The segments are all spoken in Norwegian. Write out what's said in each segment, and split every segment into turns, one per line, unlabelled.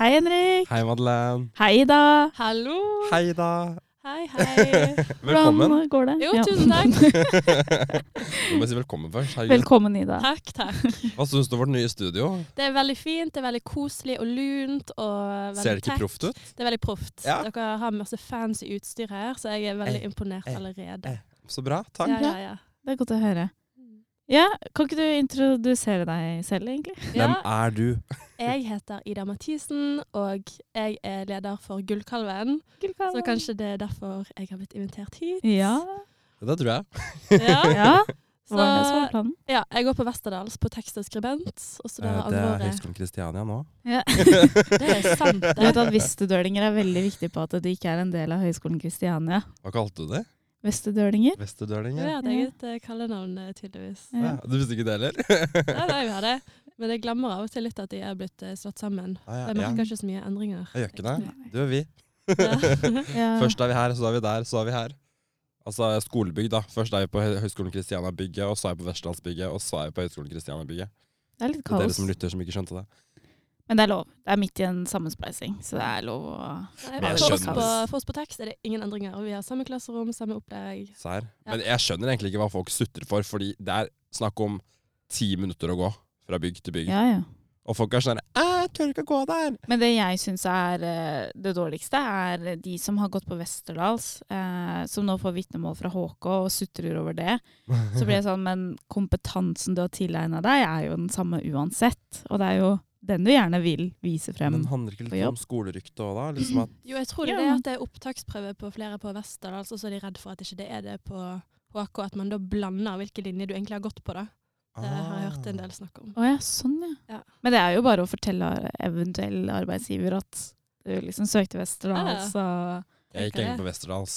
Hei, Henrik.
Hei, Madeleine.
Hei, Ida.
Hallo!
Hei, da.
Hei, hei.
Velkommen.
Hvordan går det?
Jo,
Ja.
tusen takk.
Du må si velkommen først. Herregud.
Velkommen, Ida.
Takk, takk.
Hva syns du om vårt nye studio?
Det er veldig fint, det er veldig koselig og lunt. og veldig
Ser det ikke
tech.
proft ut?
Det er veldig proft.
Ja.
Dere har masse fancy utstyr her, så jeg er veldig
Eh,
imponert
eh,
allerede.
eh, Så bra. Takk.
Ja, ja, ja.
Det er godt å høre.
Mm.
Ja, Kan ikke du introdusere deg selv, egentlig?
Hvem
ja.
er du?
Jeg heter Ida Mathisen, og jeg er leder for Gullkalven. Så kanskje det er derfor jeg har blitt invitert hit.
Ja.
Det tror jeg.
Ja.
ja.
Så
Var det som var planen?
ja, jeg går på Westerdals på tekst og skribent, og
Eh,
studerer
Det er
andre året.
Høgskolen Kristiania nå.
Ja.
Det er sant,
Du vet
det.
at Vesterdølinger er veldig viktig på at de ikke er en del av Høgskolen Kristiania.
Hva kalte du det?
Vesterdølinger?
Vi
Vesterdølinger?
har et eget eh, kallenavn, eh, tydeligvis.
Ja. Du visste ikke det heller?
Ja, nei, vi har det. Men jeg glemmer av og til litt at de er blitt eh, slått sammen.
Ah, ja,
Jeg
ja.
merker ikke så mye endringer.
Jeg gjør ikke det.
Nei.
Du er vi.
Ja.
Ja.
Først er vi her, så er vi der, så er vi her. Altså skolebygg, da. Først er vi på Hø- Høgskolen Kristiania-bygget, og så er jeg på Vestlandsbygget, og så er jeg på Høgskolen Kristiania-bygget.
Det er litt
Det er dere
kaos.
som lytter, som ikke skjønte det.
Men det er lov. Det er midt i en sammenspleising, så det er lov å
Nei,
Men
jeg
For oss
skjønner.
på, for oss på tekst er det ingen endringer. og Vi har samme klasserom, samme opplegg.
Sær.
Ja.
Men jeg skjønner egentlig ikke hva folk sutrer for, fordi det er snakk om ti minutter å gå fra bygg til bygg.
Ja, ja.
Og folk er sånn der, «Æ, 'Jeg tør ikke å gå der'.
Men det jeg syns er eh, det dårligste, er de som har gått på Westerdals, eh, som nå får vitnemål fra HK og sutrer over det. Så blir jeg sånn, men kompetansen du har tilegna deg, er jo den samme uansett. Og det er jo den du gjerne vil vise frem.
Men handler ikke
på
litt om skolerykte òg, da? Liksom at,
Jo, jeg tror det
Ja.
er at det er opptaksprøve på flere på Vesterdal, så er de redd for at ikke det er det på HK, at man da blander hvilke linjer du egentlig har gått på, da. Det har jeg hørt
Ah.
en del snakk om.
Å ja, sånn ja.
Ja.
Men det er jo bare å fortelle eventuell arbeidsgiver at du liksom søkte Westerdals og
«Ah, Jeg gikk
Tenker
egentlig
det.
på Westerdals,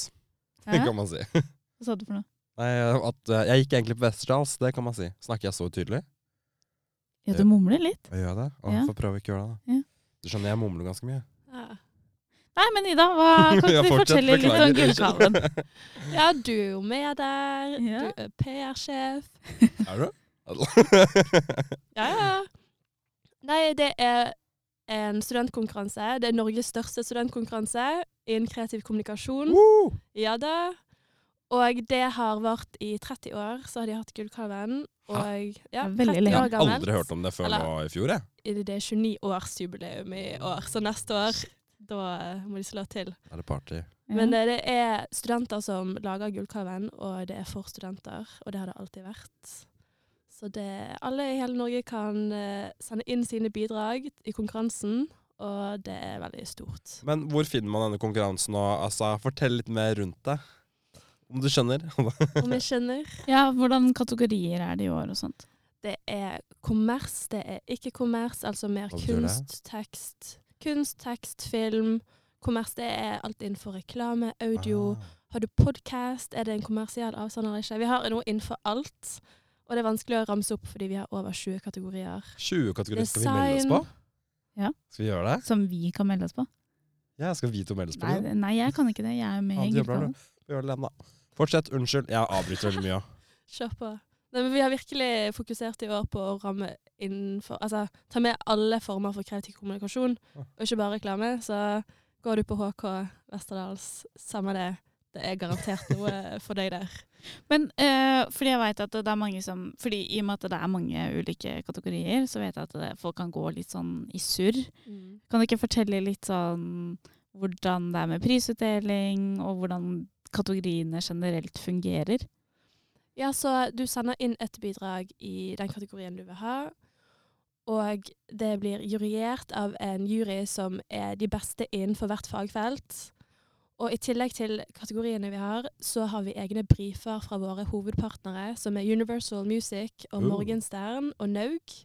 det
Hæ?
kan man si.
Hva sa du for noe?
Nei, at eh, jeg gikk egentlig på Westerdals, det kan man si. Snakker jeg så tydelig?
Ja, du mumler litt.
Jeg gjør det. Å,
Ja.
Får prøve å ikke gjøre det, da.
Ja.
Du skjønner, jeg mumler ganske mye.
Ja.
Nei, men Ida, hva, kan
Ja,
ikke du
fortsett,
fortelle litt om
beklager.
Gullkalven?
ja, du er jo med der.
Ja.
Du er PR-sjef.
Er du?
Ja, ja. Nei, det er en studentkonkurranse. Det er Norges største studentkonkurranse innen kreativ kommunikasjon.
Woo!
Ja da. Og det har vart i 30 år, så har de hatt Gullkalven. Og
Det
ja,
er veldig
30
lenge.
Jeg
år
har
gammelt.
aldri hørt om det før
Eller-
nå i fjor, jeg.
Det er 29-årsjubileum i år, så neste år da eh, må de slå til.
Da er det party.
Men eh, det er studenter som lager Gullkalven, og det er for studenter. Og det har det alltid vært. Så det, alle i hele Norge kan eh, sende inn sine bidrag i konkurransen, og det er veldig stort.
Men hvor finner man denne konkurransen? Og, altså, fortell litt mer rundt det. Om du skjønner.
Om jeg skjønner.
Ja, hvordan kategorier er det i år og sånt?
Det er kommers, det er ikke-kommers, altså mer
Hva betyr det?
kunst, tekst. Kunst, tekst, film. Kommers det er alt innenfor reklame, audio.
Ah.
Har du podkast? Er det en kommersiell avstand eller ikke? Vi har noe innenfor alt. Og det er vanskelig å ramse opp fordi vi har over 20 kategorier.
20 kategorier skal vi melde oss på?
Design.
Ja.
Skal vi gjøre det?
Som vi kan melde oss på?
Ja, skal vi to melde oss på?
Nei,
det?
nei jeg kan ikke det. Jeg er med
Ja,
i
du jobber
Gullkalven.
Vi gjør det alene, da. Fortsett. Unnskyld, jeg avbryter veldig mye.
Kjør på. Nei, men vi har virkelig fokusert i år på å ramme innenfor Altså ta med alle former for kreativ kommunikasjon, og ikke bare reklame. Så går du på HK Westerdals, samme det. Det er garantert noe for deg der.
Men eh, fordi jeg vet at det er mange som Fordi i og med at det er mange ulike kategorier, så vet jeg at det, folk kan gå litt sånn i surr.
Mm.
Kan du ikke fortelle litt sånn hvordan det er med prisutdeling, og hvordan kategoriene generelt fungerer?
Ja, så du sender inn et bidrag i den kategorien du vil ha. Og det blir juryert av en jury som er de beste innenfor hvert fagfelt. Og i tillegg til kategoriene vi har, så har vi egne briefer fra våre hovedpartnere, som er Universal Music og
Oh.
Morgenstern og Naug.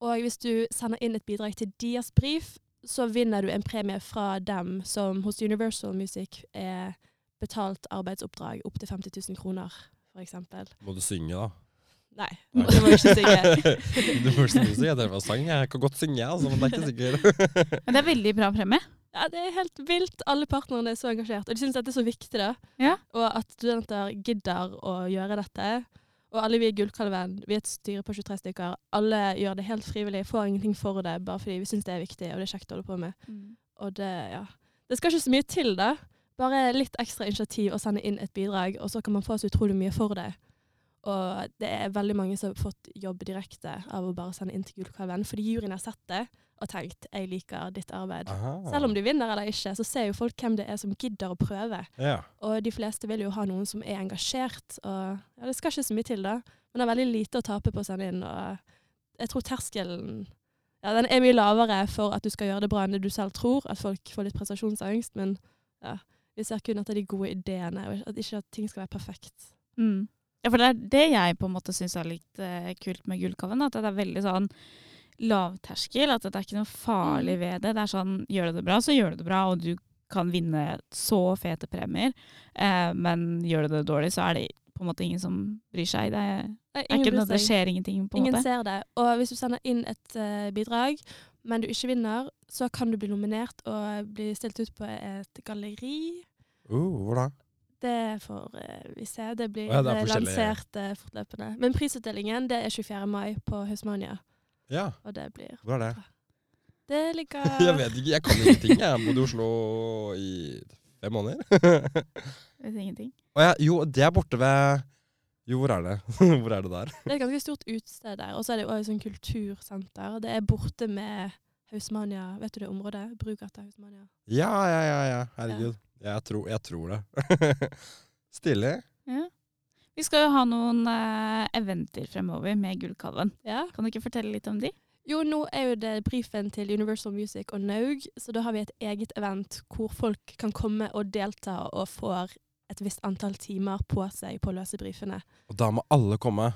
Og hvis du sender inn et bidrag til deres brief, så vinner du en premie fra dem som hos Universal Music er betalt arbeidsoppdrag opp til 50 000 kroner, f.eks.
Må du synge, da?
Nei, det må jeg ikke synge.
du får ikke synge. Jeg drev og sang. Jeg kan godt synge, jeg, altså, men det er ikke sikkert.
Men det er veldig bra premie.
Ja, det er helt vilt. Alle partnerne er så engasjert. Og de syns dette er så viktig, da.
Ja.
Og at studenter gidder å gjøre dette. Og alle vi i Gullkalven, vi er et styre på 23 stykker. Alle gjør det helt frivillig, får ingenting for det, bare fordi vi syns det er viktig og det er kjekt å holde på med.
Mm.
Og det, ja. det skal ikke så mye til, da. Bare litt ekstra initiativ og sende inn et bidrag, og så kan man få så utrolig mye for det. Og det er veldig mange som har fått jobb direkte av å bare sende inn til Gullkalven, fordi juryen har sett det og tenkt 'jeg liker ditt arbeid'.
Aha.
Selv om du vinner eller ikke, så ser jo folk hvem det er som gidder å prøve.
Ja.
Og de fleste vil jo ha noen som er engasjert, og ja, det skal ikke så mye til da. Man har veldig lite å tape på å sende inn, og jeg tror terskelen ja, den er mye lavere for at du skal gjøre det bra enn det du selv tror, at folk får litt prestasjonsangst, men ja, vi ser kun etter de gode ideene, og at ikke at ting skal være perfekt.
Mm. Ja, for det er det jeg på en måte syns er litt eh, kult med Gullkalven. At det er veldig sånn lavterskel. At det er ikke noe farlig
Mm.
ved det. Det er sånn gjør du det bra, så gjør du det bra, og du kan vinne så fete premier. Eh, men gjør du det dårlig, så er det på en måte ingen som bryr seg. Det er,
Nei,
er ikke
bryr
noe, det
seg.
skjer ingenting, på en
Ingen
måte.
ser det. Og hvis du sender inn et eh, bidrag, men du ikke vinner, så kan du bli nominert og bli stilt ut på et galleri.
Uh, hvor da?
Det får eh, vi se. Det blir
Ja, det er
eh,
forskjellige-
lansert eh, fortløpende. Men prisutdelingen det er 24. mai på Husmania,
Ja,
og det blir
hvor er det?
Det ligger
Jeg vet ikke, jeg kan ingenting. Jeg har bodd i Oslo i fem måneder.
Jeg vet ingenting.
Og jeg, jo, det er borte ved Jo, hvor er det? hvor er det der?
Det er et ganske stort utested der. Og så er det òg et sånt kultursenter. Det er borte med Husmania. Vet du det området? Brugata Husmania.
Ja, ja, ja. ja. Herregud. Jeg, tror, jeg tror det. Stilig.
Ja. Vi skal jo ha noen eh, eventer fremover med Gullkalven.
Ja.
Kan du ikke fortelle litt om de?
Jo, nå er jo det brifen til Universal Music og Naug, så da har vi et eget event hvor folk kan komme og delta og får et visst antall timer på seg på å løse brifene.
Og da må alle komme.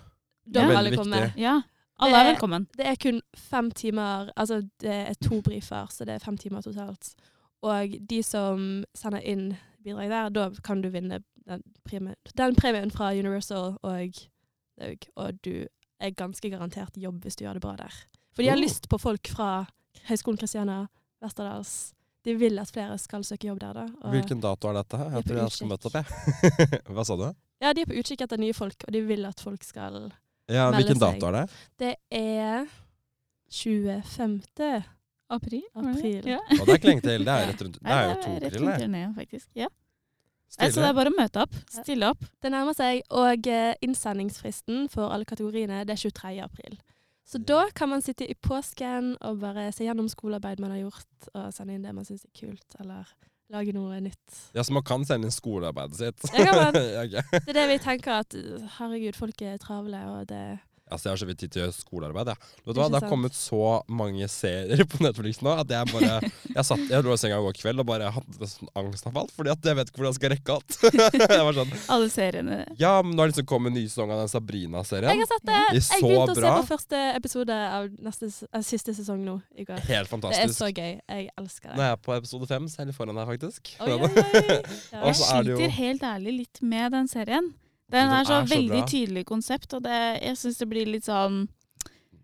Da
Ja.
må
Veldig
alle komme.
viktig.
Ja, alle er
Det-
velkommen.
Det er kun fem timer, altså det er to briefer, så det er fem timer totalt. Og de som sender inn bidrag der, da kan du vinne den premien, den premien fra Universal og Laug. Og du er ganske garantert jobb hvis du gjør det bra der. For de har
Oh.
lyst på folk fra Høgskolen Kristiania, Vesterdals. De vil at flere skal søke jobb der, da. Og
Hvilken dato er dette? her?
Jeg er
Jeg
på
tror jeg skal
utkikk.
møte opp, jeg. Hva sa du?
Ja, de er på utkikk etter nye folk, og de vil at folk skal
Ja,
Melde
hvilken
seg.
dato er det?
Det er 25.
April?
var det det? April.
Ja.
Å, det er ikke lenge til. Det er, rett rundt, det er jo to
rett
krill, det.
rundt hjørnet, faktisk. Ja. Nei, så Altså, det
Stilig.
er bare å møte opp. Stille opp.
Det nærmer seg, og eh, innsendingsfristen for alle kategoriene det er 23. april. Så da kan man sitte i påsken og bare se gjennom skolearbeid man har gjort, og sende inn det man syns er kult, eller lage noe nytt.
Ja, så man kan sende inn skolearbeidet sitt.
Ja, kan man.
Ja, ok.
Det er det vi tenker at uh, herregud, folk er travle, og det
Altså, jeg har så vidt tid til å gjøre skolearbeid. Jeg. Vet du hva?
Ikke
Det har
sant?
kommet så mange serier på Netflix nå at jeg bare Jeg, satt, jeg lå i senga i går kveld og bare hadde sånn angstanfall fordi at jeg vet ikke hvordan jeg skal rekke alt. jeg var sånn
Alle seriene.
Ja, men nå har det liksom kommet en ny sesong av den
Jeg
Sabrina-serien.
har sett det!
Det er så
Jeg begynte å se
bra.
på første episode av neste, s- eh, siste sesong nå i går.
Helt
Det er
fantastisk.
så gøy. Jeg elsker
Nå
det.
er jeg på episode fem, så jeg er litt foran deg, faktisk.
Oi, oi, oi. Ja.
Og
Jeg
så er det jo-
sliter helt ærlig litt med den serien. Den
Den
er så
er så
veldig
bra.
tydelig konsept, og det, jeg syns det blir litt sånn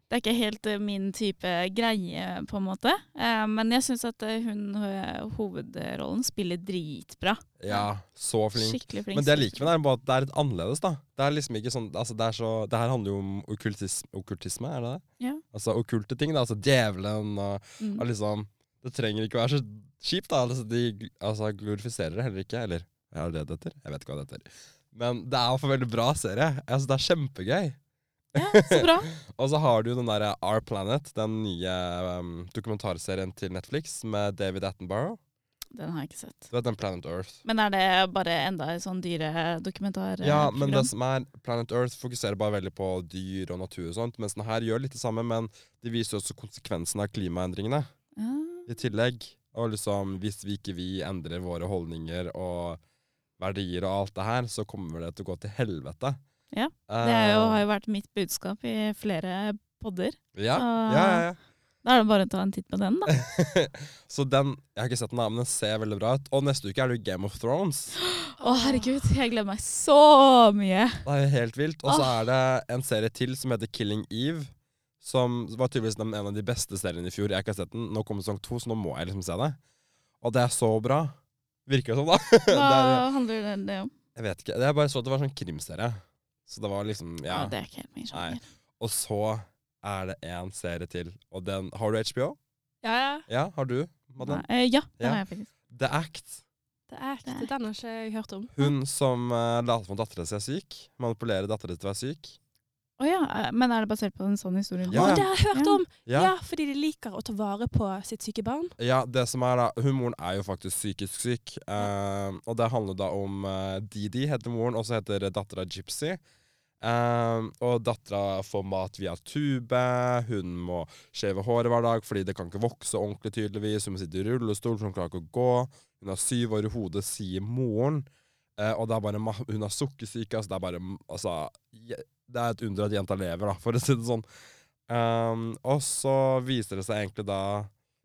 Det er ikke helt eh, min type greie, på en måte. Eh, men jeg syns at eh, hun eh, hovedrollen spiller dritbra.
Ja, så flink.
Skikkelig flink.
Men det jeg liker med det, er bare at det er litt annerledes, da. Det er liksom ikke sånn Altså, det er så Det her handler jo om okkultisme, okkultisme er det det?
Ja.
Altså okkulte ting, da. Altså djevelen og
Mm.
Og liksom, det trenger ikke være så kjipt, da. Altså, de gl- altså, glorifiserer det heller ikke. Eller er det det heter? Jeg vet ikke hva det heter. Men det er iallfall veldig bra serie. Altså, det er kjempegøy.
Ja, så bra.
Og så har du den derre Our Planet, den nye um, dokumentarserien til Netflix med David Attenborough.
Den har jeg ikke sett.
Du vet den Planet Earth?
Men er det bare enda en sånn dyredokumentar? eh,
Ja, men det
program?
som er Planet Earth fokuserer bare veldig på dyr og natur og sånt, mens den her gjør litt det samme, men de viser også konsekvensene av klimaendringene.
Ja.
i tillegg. Og liksom, hvis vi ikke vi endrer våre holdninger og verdier og alt det her, så kommer det til å gå til helvete.
Ja,
Eh,
Det er jo, har jo vært mitt budskap i flere podder.
ja, ja, ja,
Da er det bare å ta en titt på den, da.
ja. Så den Jeg har ikke sett den, da, men den ser veldig bra ut. Og neste uke er det jo Game of Thrones.
Å, herregud, jeg gleder meg så mye.
Det er jo helt vilt. Og så er det en serie til som heter Killing Eve. Som var tydeligvis den- en av de beste seriene i fjor. Jeg har ikke sett den. Nå kommer sesong to, så nå må jeg liksom se det. Og det er så bra. Virker det som, da.
Hva
Det er-
handler det om?
Jeg vet ikke. Jeg bare så at det var en sånn krimserie. Så det var liksom
Ja.
Ja.
det er ikke helt min sjanger.
Og så er det én serie til, og den Har du HBO?
Ja, ja.
Ja, har du? Madeleine?
Nei, eh, ja, det
Ja.
har jeg faktisk.
The Act.
Det er
Det
ekte.
er
Den har ikke jeg hørt om.
Hun som uh, later som dattera si er syk. Manipulerer dattera si til å være syk.
Å ja, eh, men er det basert på en sånn historie?
Ja.
Å, det har jeg hørt
Ja.
om! Ja.
Ja.
fordi de liker å ta vare på sitt syke barn.
ja, det som er da Hun moren er jo faktisk psykisk syk. eh, og det handler da om eh, Didi, heter moren, og så heter dattera Gypsy. Eh, og dattera får mat via tube. Hun må skjeve håret hver dag fordi det kan ikke vokse ordentlig, tydeligvis. Hun må sitte i rullestol, for hun klarer ikke å gå. Hun har syv år i hodet, sier moren. Eh, og det er bare, ma- hun har sukkersyke. Altså det er bare altså, je- Det er et under at jenta lever, da, for å si det sånn. Um, og så viser det seg egentlig da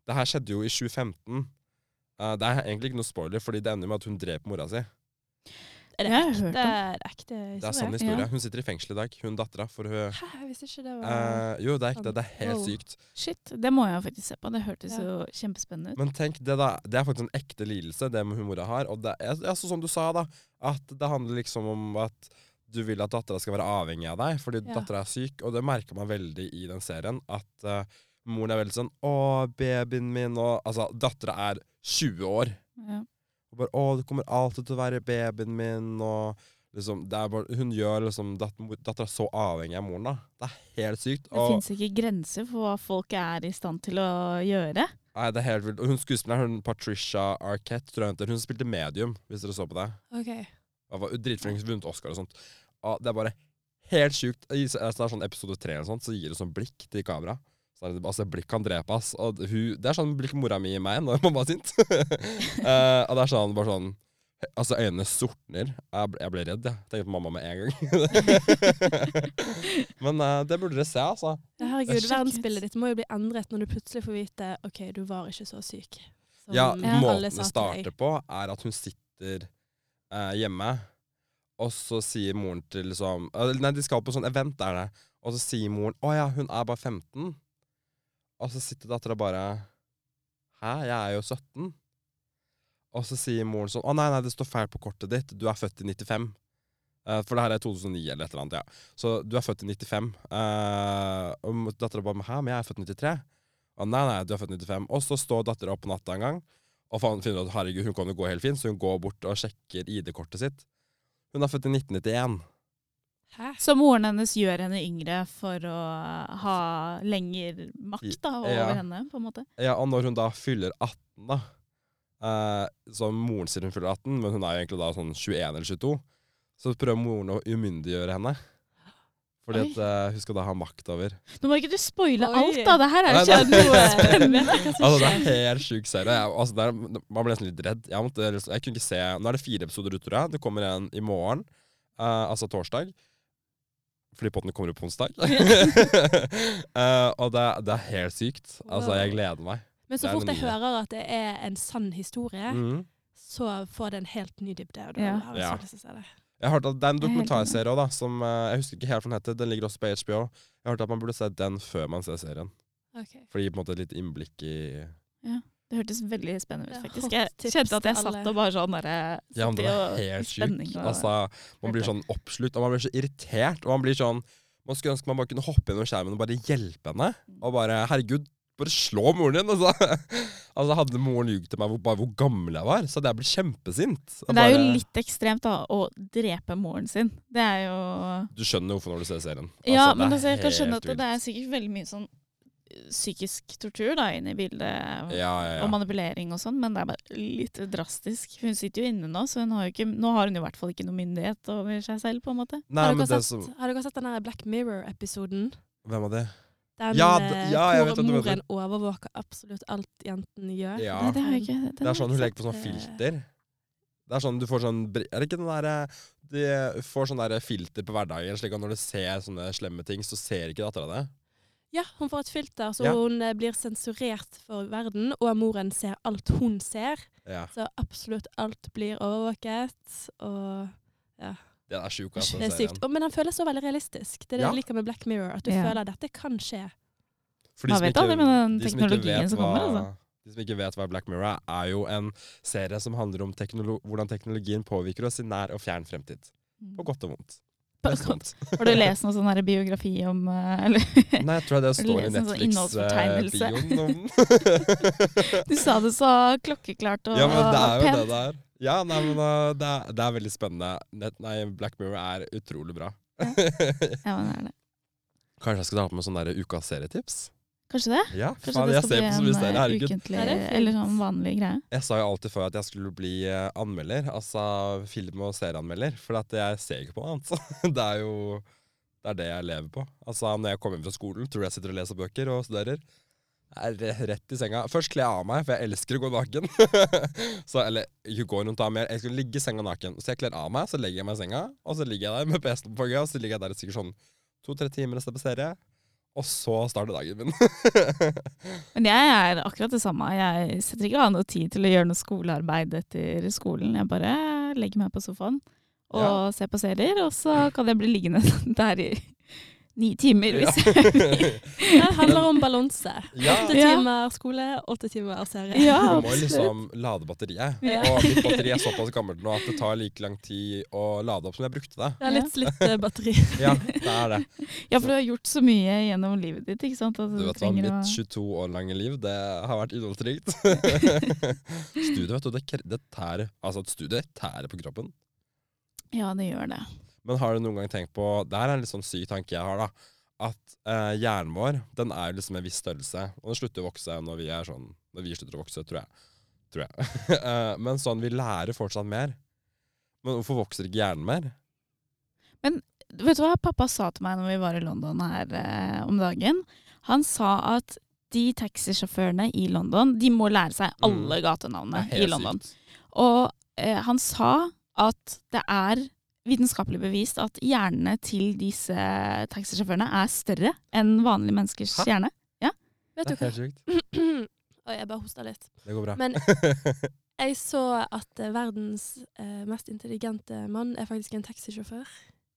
Det her skjedde jo i 2015. Eh, det er egentlig ikke noe spoiler, fordi det ender med at hun dreper mora si.
Er
Jeg
det
har hørt
ekte,
om.
det er ekte
Det er sann
historie?
historie.
Ja.
Hun sitter i fengsel i dag, hun dattera. For hun
Hæ, jeg visste ikke det var
eh, Jo, det er ikke det. Det er helt
Wow.
sykt.
Shit, det må jeg faktisk se på. Det hørtes
Ja.
jo kjempespennende ut.
Men tenk, det, da, det er faktisk en ekte lidelse, det hun mora har. Og det er, ja, så som du sa, da, at det handler liksom om at du vil at dattera skal være avhengig av deg, fordi
Ja.
dattera er syk. Og det merker man veldig i den serien, at eh, moren er veldig sånn 'Å, babyen min', og altså, dattera er 20 år.
Ja.
Og bare 'Å, du kommer alltid til å være babyen min', og liksom det er bare, Hun gjør liksom dat dattera så avhengig av moren, da. Det er helt sykt.
Det
Og,
fins ikke grenser for hva folk er i stand til å gjøre.
nei, det er helt vilt. Og hun skuespilleren, hun Patricia Arquette, tror jeg hun heter, hun spilte medium, hvis dere så på det.
Ok.
Jeg var dritflink, vunnet Oscar og sånt. Ja, det er bare helt sjukt. I s- altså, det er sånn episode tre eller sånt, så gir det sånn blikk til kamera. Så er det, altså, blikk kan drepe, ass. Og hun, det er sånn blikk mora mi gir meg når mamma er sint. Eh, og det er sånn, bare sånn Altså, øynene sortner. Jeg, ble- jeg ble redd, jeg. Tenkte på mamma med en gang. Men eh, det burde dere se, altså.
Ja, herregud,
Sjekk ut.
verdensbildet ditt må jo bli endret når du plutselig får vite OK, du var ikke så syk. som
Ja,
alle
måten det
sa til deg.
starter på, er at hun sitter eh, hjemme, og så sier moren til liksom eller Nei, de skal på sånn event, er det. Og så sier moren 'Å ja, hun er bare 15'. Og så sitter dattera bare 'Hæ, jeg er jo 17'. Og så sier moren sånn 'Å nei, nei, det står feil på kortet ditt. Du er født i 95'. Eh, for det her er 2009 eller et eller annet. ja. Så du er født i 95. Eh, og dattera bare 'Hæ, men jeg er født i 93'. Og nei, nei, du er født 95. Og så står dattera opp på natta en gang og faen finner ut at herregud, hun kan jo gå helt fint, så hun går bort og sjekker ID-kortet sitt. Hun er født i 1991.
Hæ?
Så moren hennes gjør henne yngre for å ha lengre makt da, over
Ja.
henne, på en måte.
Ja, og når hun da fyller 18, da eh, Så moren sier hun fyller 18, men hun er jo egentlig da sånn 21 eller 22. Så prøver moren å umyndiggjøre henne. Fordi
Oi.
at eh, hun skal da ha makt over.
Nå må ikke du spoile
Oi.
alt, da! Det her er jo
Nei,
ikke noe spennende.
Altså, det er helt sjuk serie. Jeg, altså, det er, man ble nesten litt redd. Jeg, måtte, liksom- jeg kunne ikke se Nå er det fire episoder ut, tror jeg. Det kommer en i morgen. eh, altså torsdag. Fordi potten kommer ut på onsdag. Eh, og det, er- det er helt sykt. Altså, jeg gleder meg.
Men
Det
så
er
fort jeg
noe.
hører at det er en sann historie,
Mhm.
så får det en helt ny dybde. Og da
Ja.
har jeg
Ja.
så lyst til å se det.
Jeg har hørt at Det er en
Jeg er helt
dokumentarserie også, da, som eh, jeg husker ikke helt hva den heter. Den ligger også på HBO. Jeg har hørt at man burde se den før man ser serien.
Ok.
For det gir på en måte et lite innblikk i
Det hørtes veldig spennende ut,
Det er
faktisk.
hot
Jeg
tips
kjente at jeg
til alle.
satt og bare sånn derre
Ja, men den er
satt i og-
helt
i spenning
sjuk.
og-
Altså, man blir sånn oppslukt, og man blir så irritert. Og man blir sånn Man skulle ønske man bare kunne hoppe gjennom skjermen og bare hjelpe henne.
Mm.
Og bare Herregud, bare slå moren din, altså! altså hadde moren ljuget til meg hvor, bare hvor gammel jeg var, så hadde jeg blitt kjempesint. Jeg
Men det er jo
bare-
litt ekstremt, da, å drepe moren sin. Det er jo
Du skjønner hvorfor når du ser serien.
ja,
det
men
er
altså, jeg kan skjønne
helt
at det er sikkert veldig mye sånn eh, psykisk tortur da, inne i bildet.
vilt. Ja, ja,
Og
ja.
manipulering og sånn, men det er bare litt drastisk. Hun sitter jo inne nå, så hun har jo ikke, nå har hun i hvert fall ikke noe myndighet over seg selv, på en måte.
Nei,
Har
men
dere
det
sett,
som
har dere sett den der Black Mirror-episoden?
Hvem er det?
Den
Ja, d-
eh,
ja, jeg vet
hvor
hva du
moren overvåker absolutt alt jenten gjør.
Ja.
Nei, det har jeg ikke. den
Det
har
er sånn
jeg
hun
ikke
legger på sånn
sett, eh,
filter. Det er sånn du får sånn bri- Er det ikke den derre De får sånn derre filter på hverdagen, slik at når du ser sånne slemme ting, så ser ikke dattera det.
Ja, hun får et filter, så
Ja.
hun eh, blir sensurert for verden. Og moren ser alt hun ser.
Ja.
Så absolutt alt blir overvåket. Og
Den er sjuk, altså.
det er sykt. Og, men den føles så veldig realistisk. Det er det
Ja.
jeg liker med Black Mirror. At du
Ja.
føler at dette kan skje.
For de
Man
som
vet
ikke-
aldri med den
de som ikke
teknologien
vet
som kommer,
hva-
altså.
De som ikke vet hva Black Mirror er, er jo en sånn, serie som handler om teknolo hvordan teknologien påvirker oss i nær og fjern fremtid. På godt og vondt. Det er sant.
Har du lest noen sånn her biografi om eh, eller,
Nei, jeg tror det står i eh,
Les en sånn
Netflix-bioen
innholdsfortegnelse.
om
Du sa det så klokkeklart og
Ja, men det er jo det
pent.
det er. Ja, nei, men uh, det, er, det er veldig spennende. Net, nei, Black Mirror er utrolig bra.
Ja, men det er det.
Kanskje jeg skal ta på meg sånn der ukas serietips?
Kanskje det?
Ja,
Kanskje
faen,
det
jeg ser på så mye
eh,
serier. Herregud.
ukentlig
Ja, det er fint.
eller sånn vanlig greie.
Jeg sa jo alltid før at jeg skulle bli eh, anmelder, altså film- og serieanmelder, for at jeg ser jo ikke på noe annet. så Det er jo det er det jeg lever på. Altså, Når jeg kommer hjem fra skolen, tror du jeg sitter og leser bøker og studerer? Jeg Er re- rett i senga. Først kler jeg av meg, for jeg elsker å gå naken. så, eller ikke gå rundt og ha mer. Jeg skal ligge i senga naken. Så jeg kler av meg, så legger jeg meg i senga, og så ligger jeg der med PC-en på fanget, og så ligger jeg der i sikkert sånn to-tre timer og ser på serie. Og så starter dagen min.
Men jeg er akkurat det samme. Jeg setter ikke av noe tid til å gjøre noe skolearbeid etter skolen. Jeg bare legger meg på sofaen og
Ja.
ser på serier, og så kan jeg bli liggende der i ni timer. Hvis jeg
Det handler om balanse.
ja.
Åtte
Ja.
timer skole, åtte timer serie.
Ja,
Man må jo
absolutt.
liksom lade batteriet.
Ja.
Og mitt batteri er såpass gammelt nå at det tar like lang tid å lade opp som jeg brukte det.
Det er litt slitt eh, batteri.
Ja, det er det.
Ja, for du har gjort så mye gjennom livet ditt, ikke sant? At
Du vet hva,
trenger
Mitt
å-
22 år lange liv det har vært innholdsrikt. Studiet vet du, det, kre- det tærer altså et studie tærer på kroppen.
Ja, det gjør det.
Men har du noen gang tenkt på Det her er en litt sånn syk tanke jeg har. da At eh, hjernen vår Den er jo liksom en viss størrelse. Og den slutter å vokse når vi er sånn Når vi slutter å vokse, tror jeg. Tror jeg. Eh, men sånn, vi lærer fortsatt mer. Men hvorfor vokser ikke hjernen mer?
Vet du hva pappa sa til meg når vi var i London her eh, om dagen? Han sa at de taxisjåførene i London, de må lære seg alle
Mm. Det er
gatenavnene
helt
i London.
sykt.
Og eh, han sa at det er vitenskapelig bevist at hjernene til disse taxisjåførene er større enn vanlige menneskers
Hæ?
hjerne.
Det
Vet du
er
hva?
helt sykt.
Oi, jeg bare hosta litt.
Det går bra.
Men jeg så at eh, verdens eh, mest intelligente mann er faktisk en taxisjåfør.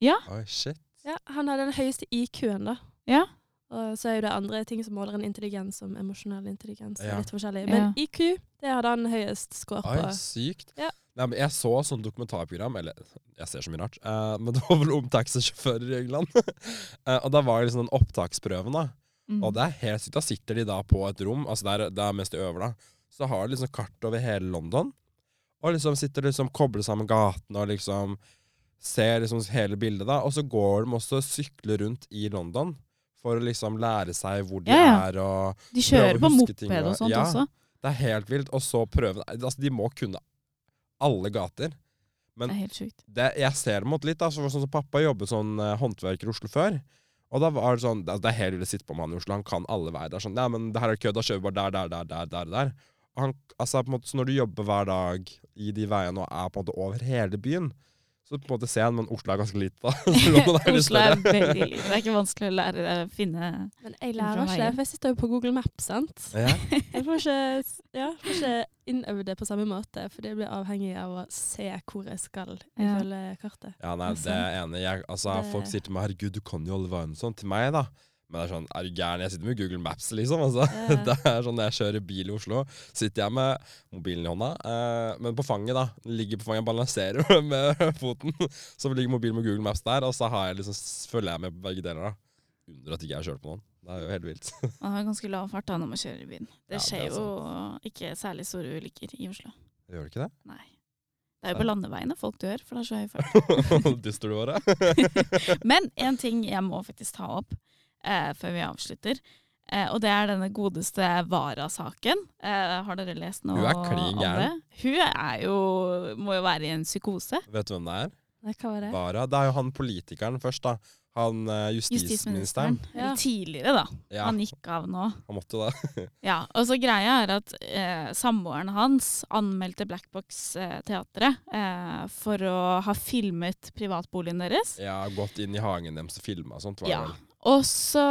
Oi, shit.
Ja, han har den høyeste IQ-en, da.
Ja.
Og så er jo det andre ting som måler en intelligens som emosjonell intelligens. og
Ja.
litt forskjellig. Men IQ, det hadde han høyest score
Oi,
på.
sykt.
Ja.
Nei, men jeg så sånn dokumentarprogram, eller jeg ser så mye rart, eh, men det var vel om taxisjåfører i England. Eh, og da var det liksom den opptaksprøven, da.
Mm.
Og det er helt sykt. Da sitter de da på et rom, altså der, der mens de øver, da. Så har de liksom kart over hele London. Og liksom sitter og liksom kobler sammen gatene og liksom ser liksom hele bildet, da. Og så går de også og sykler rundt i London for å liksom lære seg hvor de
Ja, ja.
er og
De kjører
prøver å
på
huske
moped
ting, ja.
og sånt
Ja.
også.
Det er helt vilt. Og så prøve Altså, de må kunne alle gater.
Det er helt sjukt.
Det, jeg ser det mot litt, da. Så, sånn som pappa jobbet sånn eh, håndverker i Oslo før. Og da var det sånn Det, det er helt vilt å sitte på med han i Oslo. Han kan alle veier. Det er sånn Nei, men det her er kø. Da kjører vi bare der, der, der, der, der. der. Og Han, altså, på en måte, så når du jobber hver dag i de veiene og er på en måte over hele byen, så på en måte ser jeg den, men Oslo er ganske lite, da. Så London er litt
Oslo er
større.
veldig lite. Det er ikke vanskelig å lære å finne
Men jeg
Fra
lærer ikke det,
veien.
for jeg sitter jo på Google Map, sant.
Ja.
Jeg får ikke, ja, får ikke innøvd det på samme måte, for det blir avhengig av å se hvor jeg skal
Ja.
ifølge kartet.
Ja, nei,
Det
det er jeg enig i. Jeg- Altså,
Det-
Folk sier til meg 'herregud, du kan jo alle veiene sånn'. Til meg, da. Men det er sånn, er du gæren? Jeg sitter med Google Maps, liksom. altså.
Ja.
Det er sånn, Når jeg kjører bil i Oslo, sitter jeg med mobilen i hånda, eh, men på fanget, da. Den Ligger på fanget, jeg balanserer med foten. Så ligger mobilen med Google Maps der, og så har jeg liksom, s- følger jeg med på begge deler. da. Undrer at ikke jeg har kjørt på noen. Det er jo helt vilt.
Man har ganske lav fart da når man kjører i byen.
Ja,
Det skjer
det er
jo ikke særlig store ulykker i Oslo.
Gjør det ikke det?
Nei. Det er jo på landeveiene folk dør, for det er så høy fart.
Dyster du var, da?
Men en ting jeg må faktisk ta opp eh, før vi avslutter, eh, og det er denne godeste Vara-saken. Eh, har dere lest noe
Hun er klin
om det?
gæren.
Hun er jo Må jo være i en psykose.
Vet du hvem det er?
Nei, hva var det?
Vara. Det er jo han politikeren først, da. Han eh,
Justisministeren.
justisministeren.
Eller
Ja.
Tidligere, da.
Ja,
Han
han
gikk av nå.
måtte det.
Ja, og så greia er at eh, samboeren hans anmeldte Blackbox-teatret eh, for å ha filmet privatboligen deres.
Ja, gått inn i hagen deres og filma og sånt. Var
Ja.
det vel.
Og så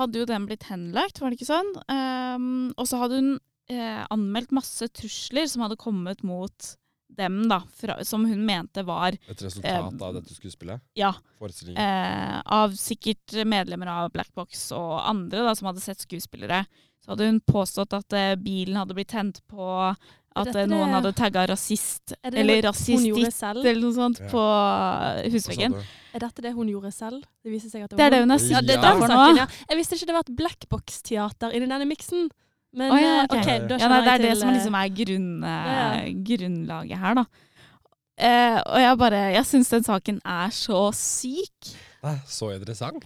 hadde jo den blitt henlagt, var det ikke sånn? Ehm, og så hadde hun eh, anmeldt masse trusler som hadde kommet mot dem, da, fra, som hun mente var
Et resultat
Eh,
av dette skuespillet?
ja,
Forestillingen?
Mm.
eh, av sikkert medlemmer av Black Box og andre da, som hadde sett skuespillere. Så hadde hun påstått at eh, bilen hadde blitt tent på at eh,
Dette
noen
er-
hadde tagga rasist
Er det
eller
det hun gjorde
rasistisk
selv?
eller noe sånt
Ja.
på eh,
Hva sa
husveggen.
du?
Er dette det hun gjorde selv? Det viser seg at det
Det
var
er det hun er
Ja,
sikker
det er
på
derfor
nå.
ja. Jeg visste ikke det var et blackbox-teater inni denne miksen. Men
Å ja,
eh,
ok.
OK, da
Ja, nei,
kjenner
det
jeg
er det
til
som
eh,
liksom er grunn, eh,
Ja, ja.
grunnlaget her, da. Eh, og jeg bare Jeg syns den saken er så syk.
Det er så interessant.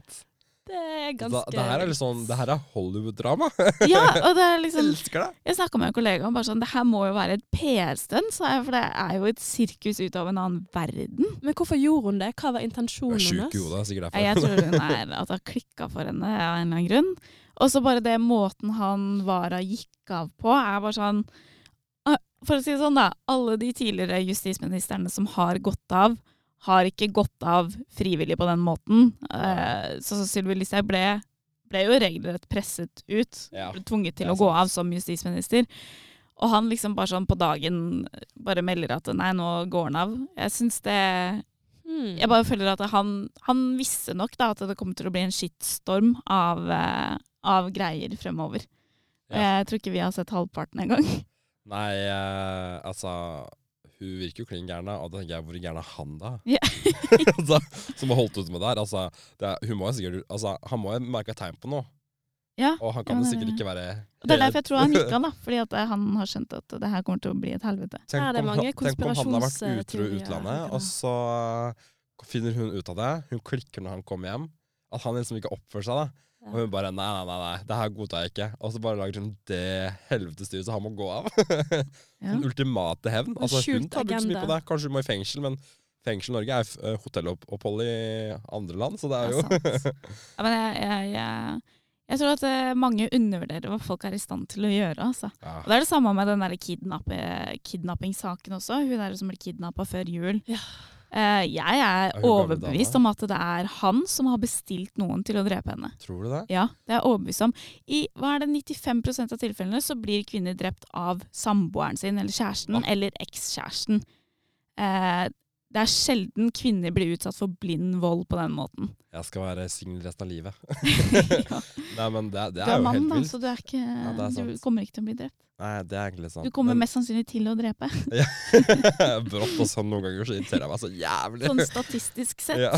Det er
Da,
ganske
det her er liksom, det her er Hollywood-drama.
Ja, og det er
Jeg
liksom
elsker det!
Jeg snakka med en kollega og bare sånn Det her må jo være et PR-stunt, sa jeg, for det er jo et sirkus ut av en annen verden.
eh, Men hvorfor gjorde hun det? Hva var
Du
intensjonen
er sjuk
hennes?
i hodet, det er sikkert
Jeg
derfor.
tror hun er at det har klikka for henne av en eller annen grunn. Og så bare det måten han var og gikk av på, er bare sånn Ah, For å si det sånn, da. Alle de tidligere justisministrene som har gått av, har ikke gått av frivillig på den måten. Eh, Så Sylvi Listhaug ble, ble jo regelrett presset ut.
Ja.
ble tvunget
Det
til
er
å gå
sant.
av som justisminister. Og han liksom bare sånn på dagen bare melder at nei, nå går han av. Jeg syns det
Hmm.
Jeg
Mm.
bare føler at han, han visste nok da at det kom til å bli en skittstorm av, eh, av greier fremover. Og
Ja.
Jeg tror ikke vi har sett halvparten engang.
Nei, eh, altså Hun virker jo klin gæren, da, og da tenker jeg hvor gæren er han, da?
Ja.
altså, som har holdt ut med det her. Altså, det er, hun må jo sikkert, altså, han må jo merke tegn på noe,
Ja.
og han kan
Ja,
jo
det-
sikkert ikke være
Og Det er derfor jeg tror han gikk av, da. Fordi at eh, han har skjønt at det her kommer til å bli et helvete.
Tenk
Her er det
om han-
mange
Tenk om han har vært utro i
konspirasjonsteorier,
utlandet,
Henrik,
og så eh, finner hun ut av det. Hun klikker når han kommer hjem. At han liksom ikke oppfører seg, da. Og hun bare nei, nei, nei, nei det her godtar jeg ikke. Og så bare lager hun det helvetesstyret, så han må gå av.
Ja.
Den ultimate hevn.
En
Altså, hun
skjult
tar ikke så mye
agenda.
på det. Kanskje hun må i fengsel, men fengsel i Norge er f- eh, hotellopphold i andre land, så det er jo
Det er sant. Ja, men jeg, jeg, jeg, jeg tror at eh, mange undervurderer hva folk er i stand til å gjøre, altså.
ja.
Og det er det samme med den der kidnappe- kidnappingssaken også. Hun der som ble kidnappa før jul.
Ja.
Eh, jeg er
hun gamle
overbevist om
dama?
at det er han som har bestilt noen til å drepe henne.
Tror du det?
Ja, det er jeg overbevist om. I hva er det, 95 av tilfellene så blir kvinner drept av samboeren sin eller kjæresten
Hva?
eller ekskjæresten. Eh, det er sjelden kvinner blir utsatt for blind vold på den måten.
Jeg skal være singel resten av livet.
ja.
Nei, men det, det
Du
er
er
jo
mann,
helt
da,
vilt.
så du, er ikke,
det er
du
sant.
kommer ikke til å bli drept.
Nei, det er egentlig sant.
Du kommer
Men-
mest sannsynlig til å drepe.
Brått og sånn noen ganger så irriterer jeg meg så jævlig.
Sånn statistisk sett.
Ja.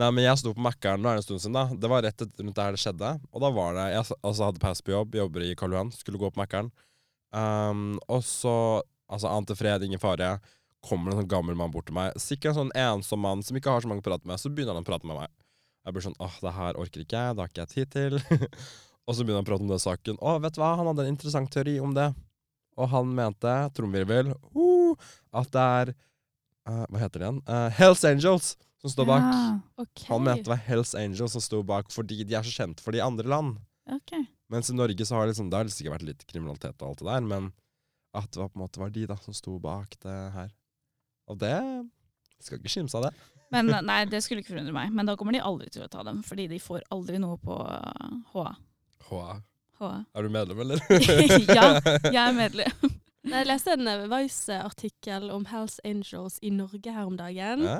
Nei, men jeg sto på Mækkern nå er det en stund siden, da. Det var rett et- rundt der det skjedde. Og da var det Jeg s- altså, hadde pause på jobb, jobber i Karl Johan, skulle gå på Mækkern. Um, og så Altså, ante fred, ingen fare. Kommer det en sånn gammel mann bort til meg, sikkert en sånn ensom mann som ikke har så mange å prate med, så begynner han å prate med meg. Jeg blir sånn åh, det her orker ikke jeg, det har ikke jeg tid til. og så begynner han å prate om den saken. Å, vet du hva, han hadde en interessant teori om det. Og han mente, trommevirvel, uh, at det er eh, Hva heter det igjen? Eh, Hells Angels som står bak.
Ok.
Han mente det var Hells Angels som sto bak, fordi de er så kjent for de andre land.
Ja, ok.
Mens i Norge så har liksom, det har sikkert vært litt kriminalitet og alt det der, men at det var på en måte var de da som sto bak det her. Og det skal ikke skimse av det.
Men eh, nei, det skulle ikke forundre meg. Men da kommer de aldri til å ta dem, fordi de får aldri noe på uh, HA.
Hva?
HA.
Er du medlem, eller?
ja, jeg er medlem.
Nei, Jeg leste en eh, Vice-artikkel om Hells Angels i Norge her om dagen,
Hæ?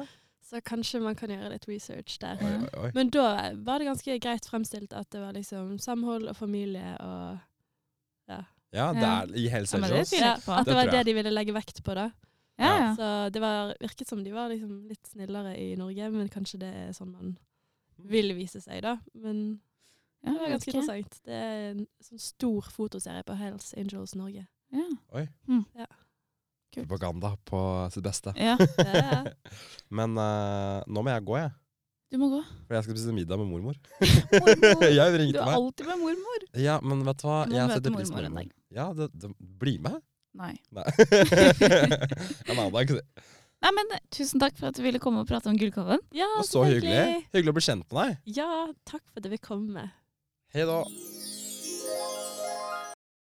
så kanskje man kan gjøre litt research der.
Oi, oi, oi.
Men da eh, var det ganske greit fremstilt at det var liksom samhold og familie og
Ja, det er i Hells
Ja, men det
Angels.
tviler
ja,
jeg ikke på.
At
Det
det var
tror
det
jeg.
de ville legge vekt på, da.
Ja, ja.
Så det var, virket som de var liksom litt snillere i Norge, men kanskje det er sånn man vil vise seg, da. Men
ja
det var
jeg vet
ganske
ikke.
interessant. Det er en sånn stor fotoserie på Hells Angels Norge.
Ja.
Propaganda på sitt beste.
ja,
Det er,
Men eh, nå må jeg gå, jeg.
du må gå.
For jeg skal spise middag med mormor.
Mormor.
Jeg
Du
ringte
er
meg.
alltid med mormor.
Ja, men vet du hva?
Du må
Jeg
møte
setter pris på
mormor en
mormor.
dag.
Ja, det, det, bli med.
Nei.
Nei. en annen dag. Det
Nei, men eh, tusen takk for at du ville komme og prate om Gullkalven.
ja,
var så hyggelig. Hyggelig å bli kjent med deg.
Ja, takk for at jeg vil komme.
Hei da.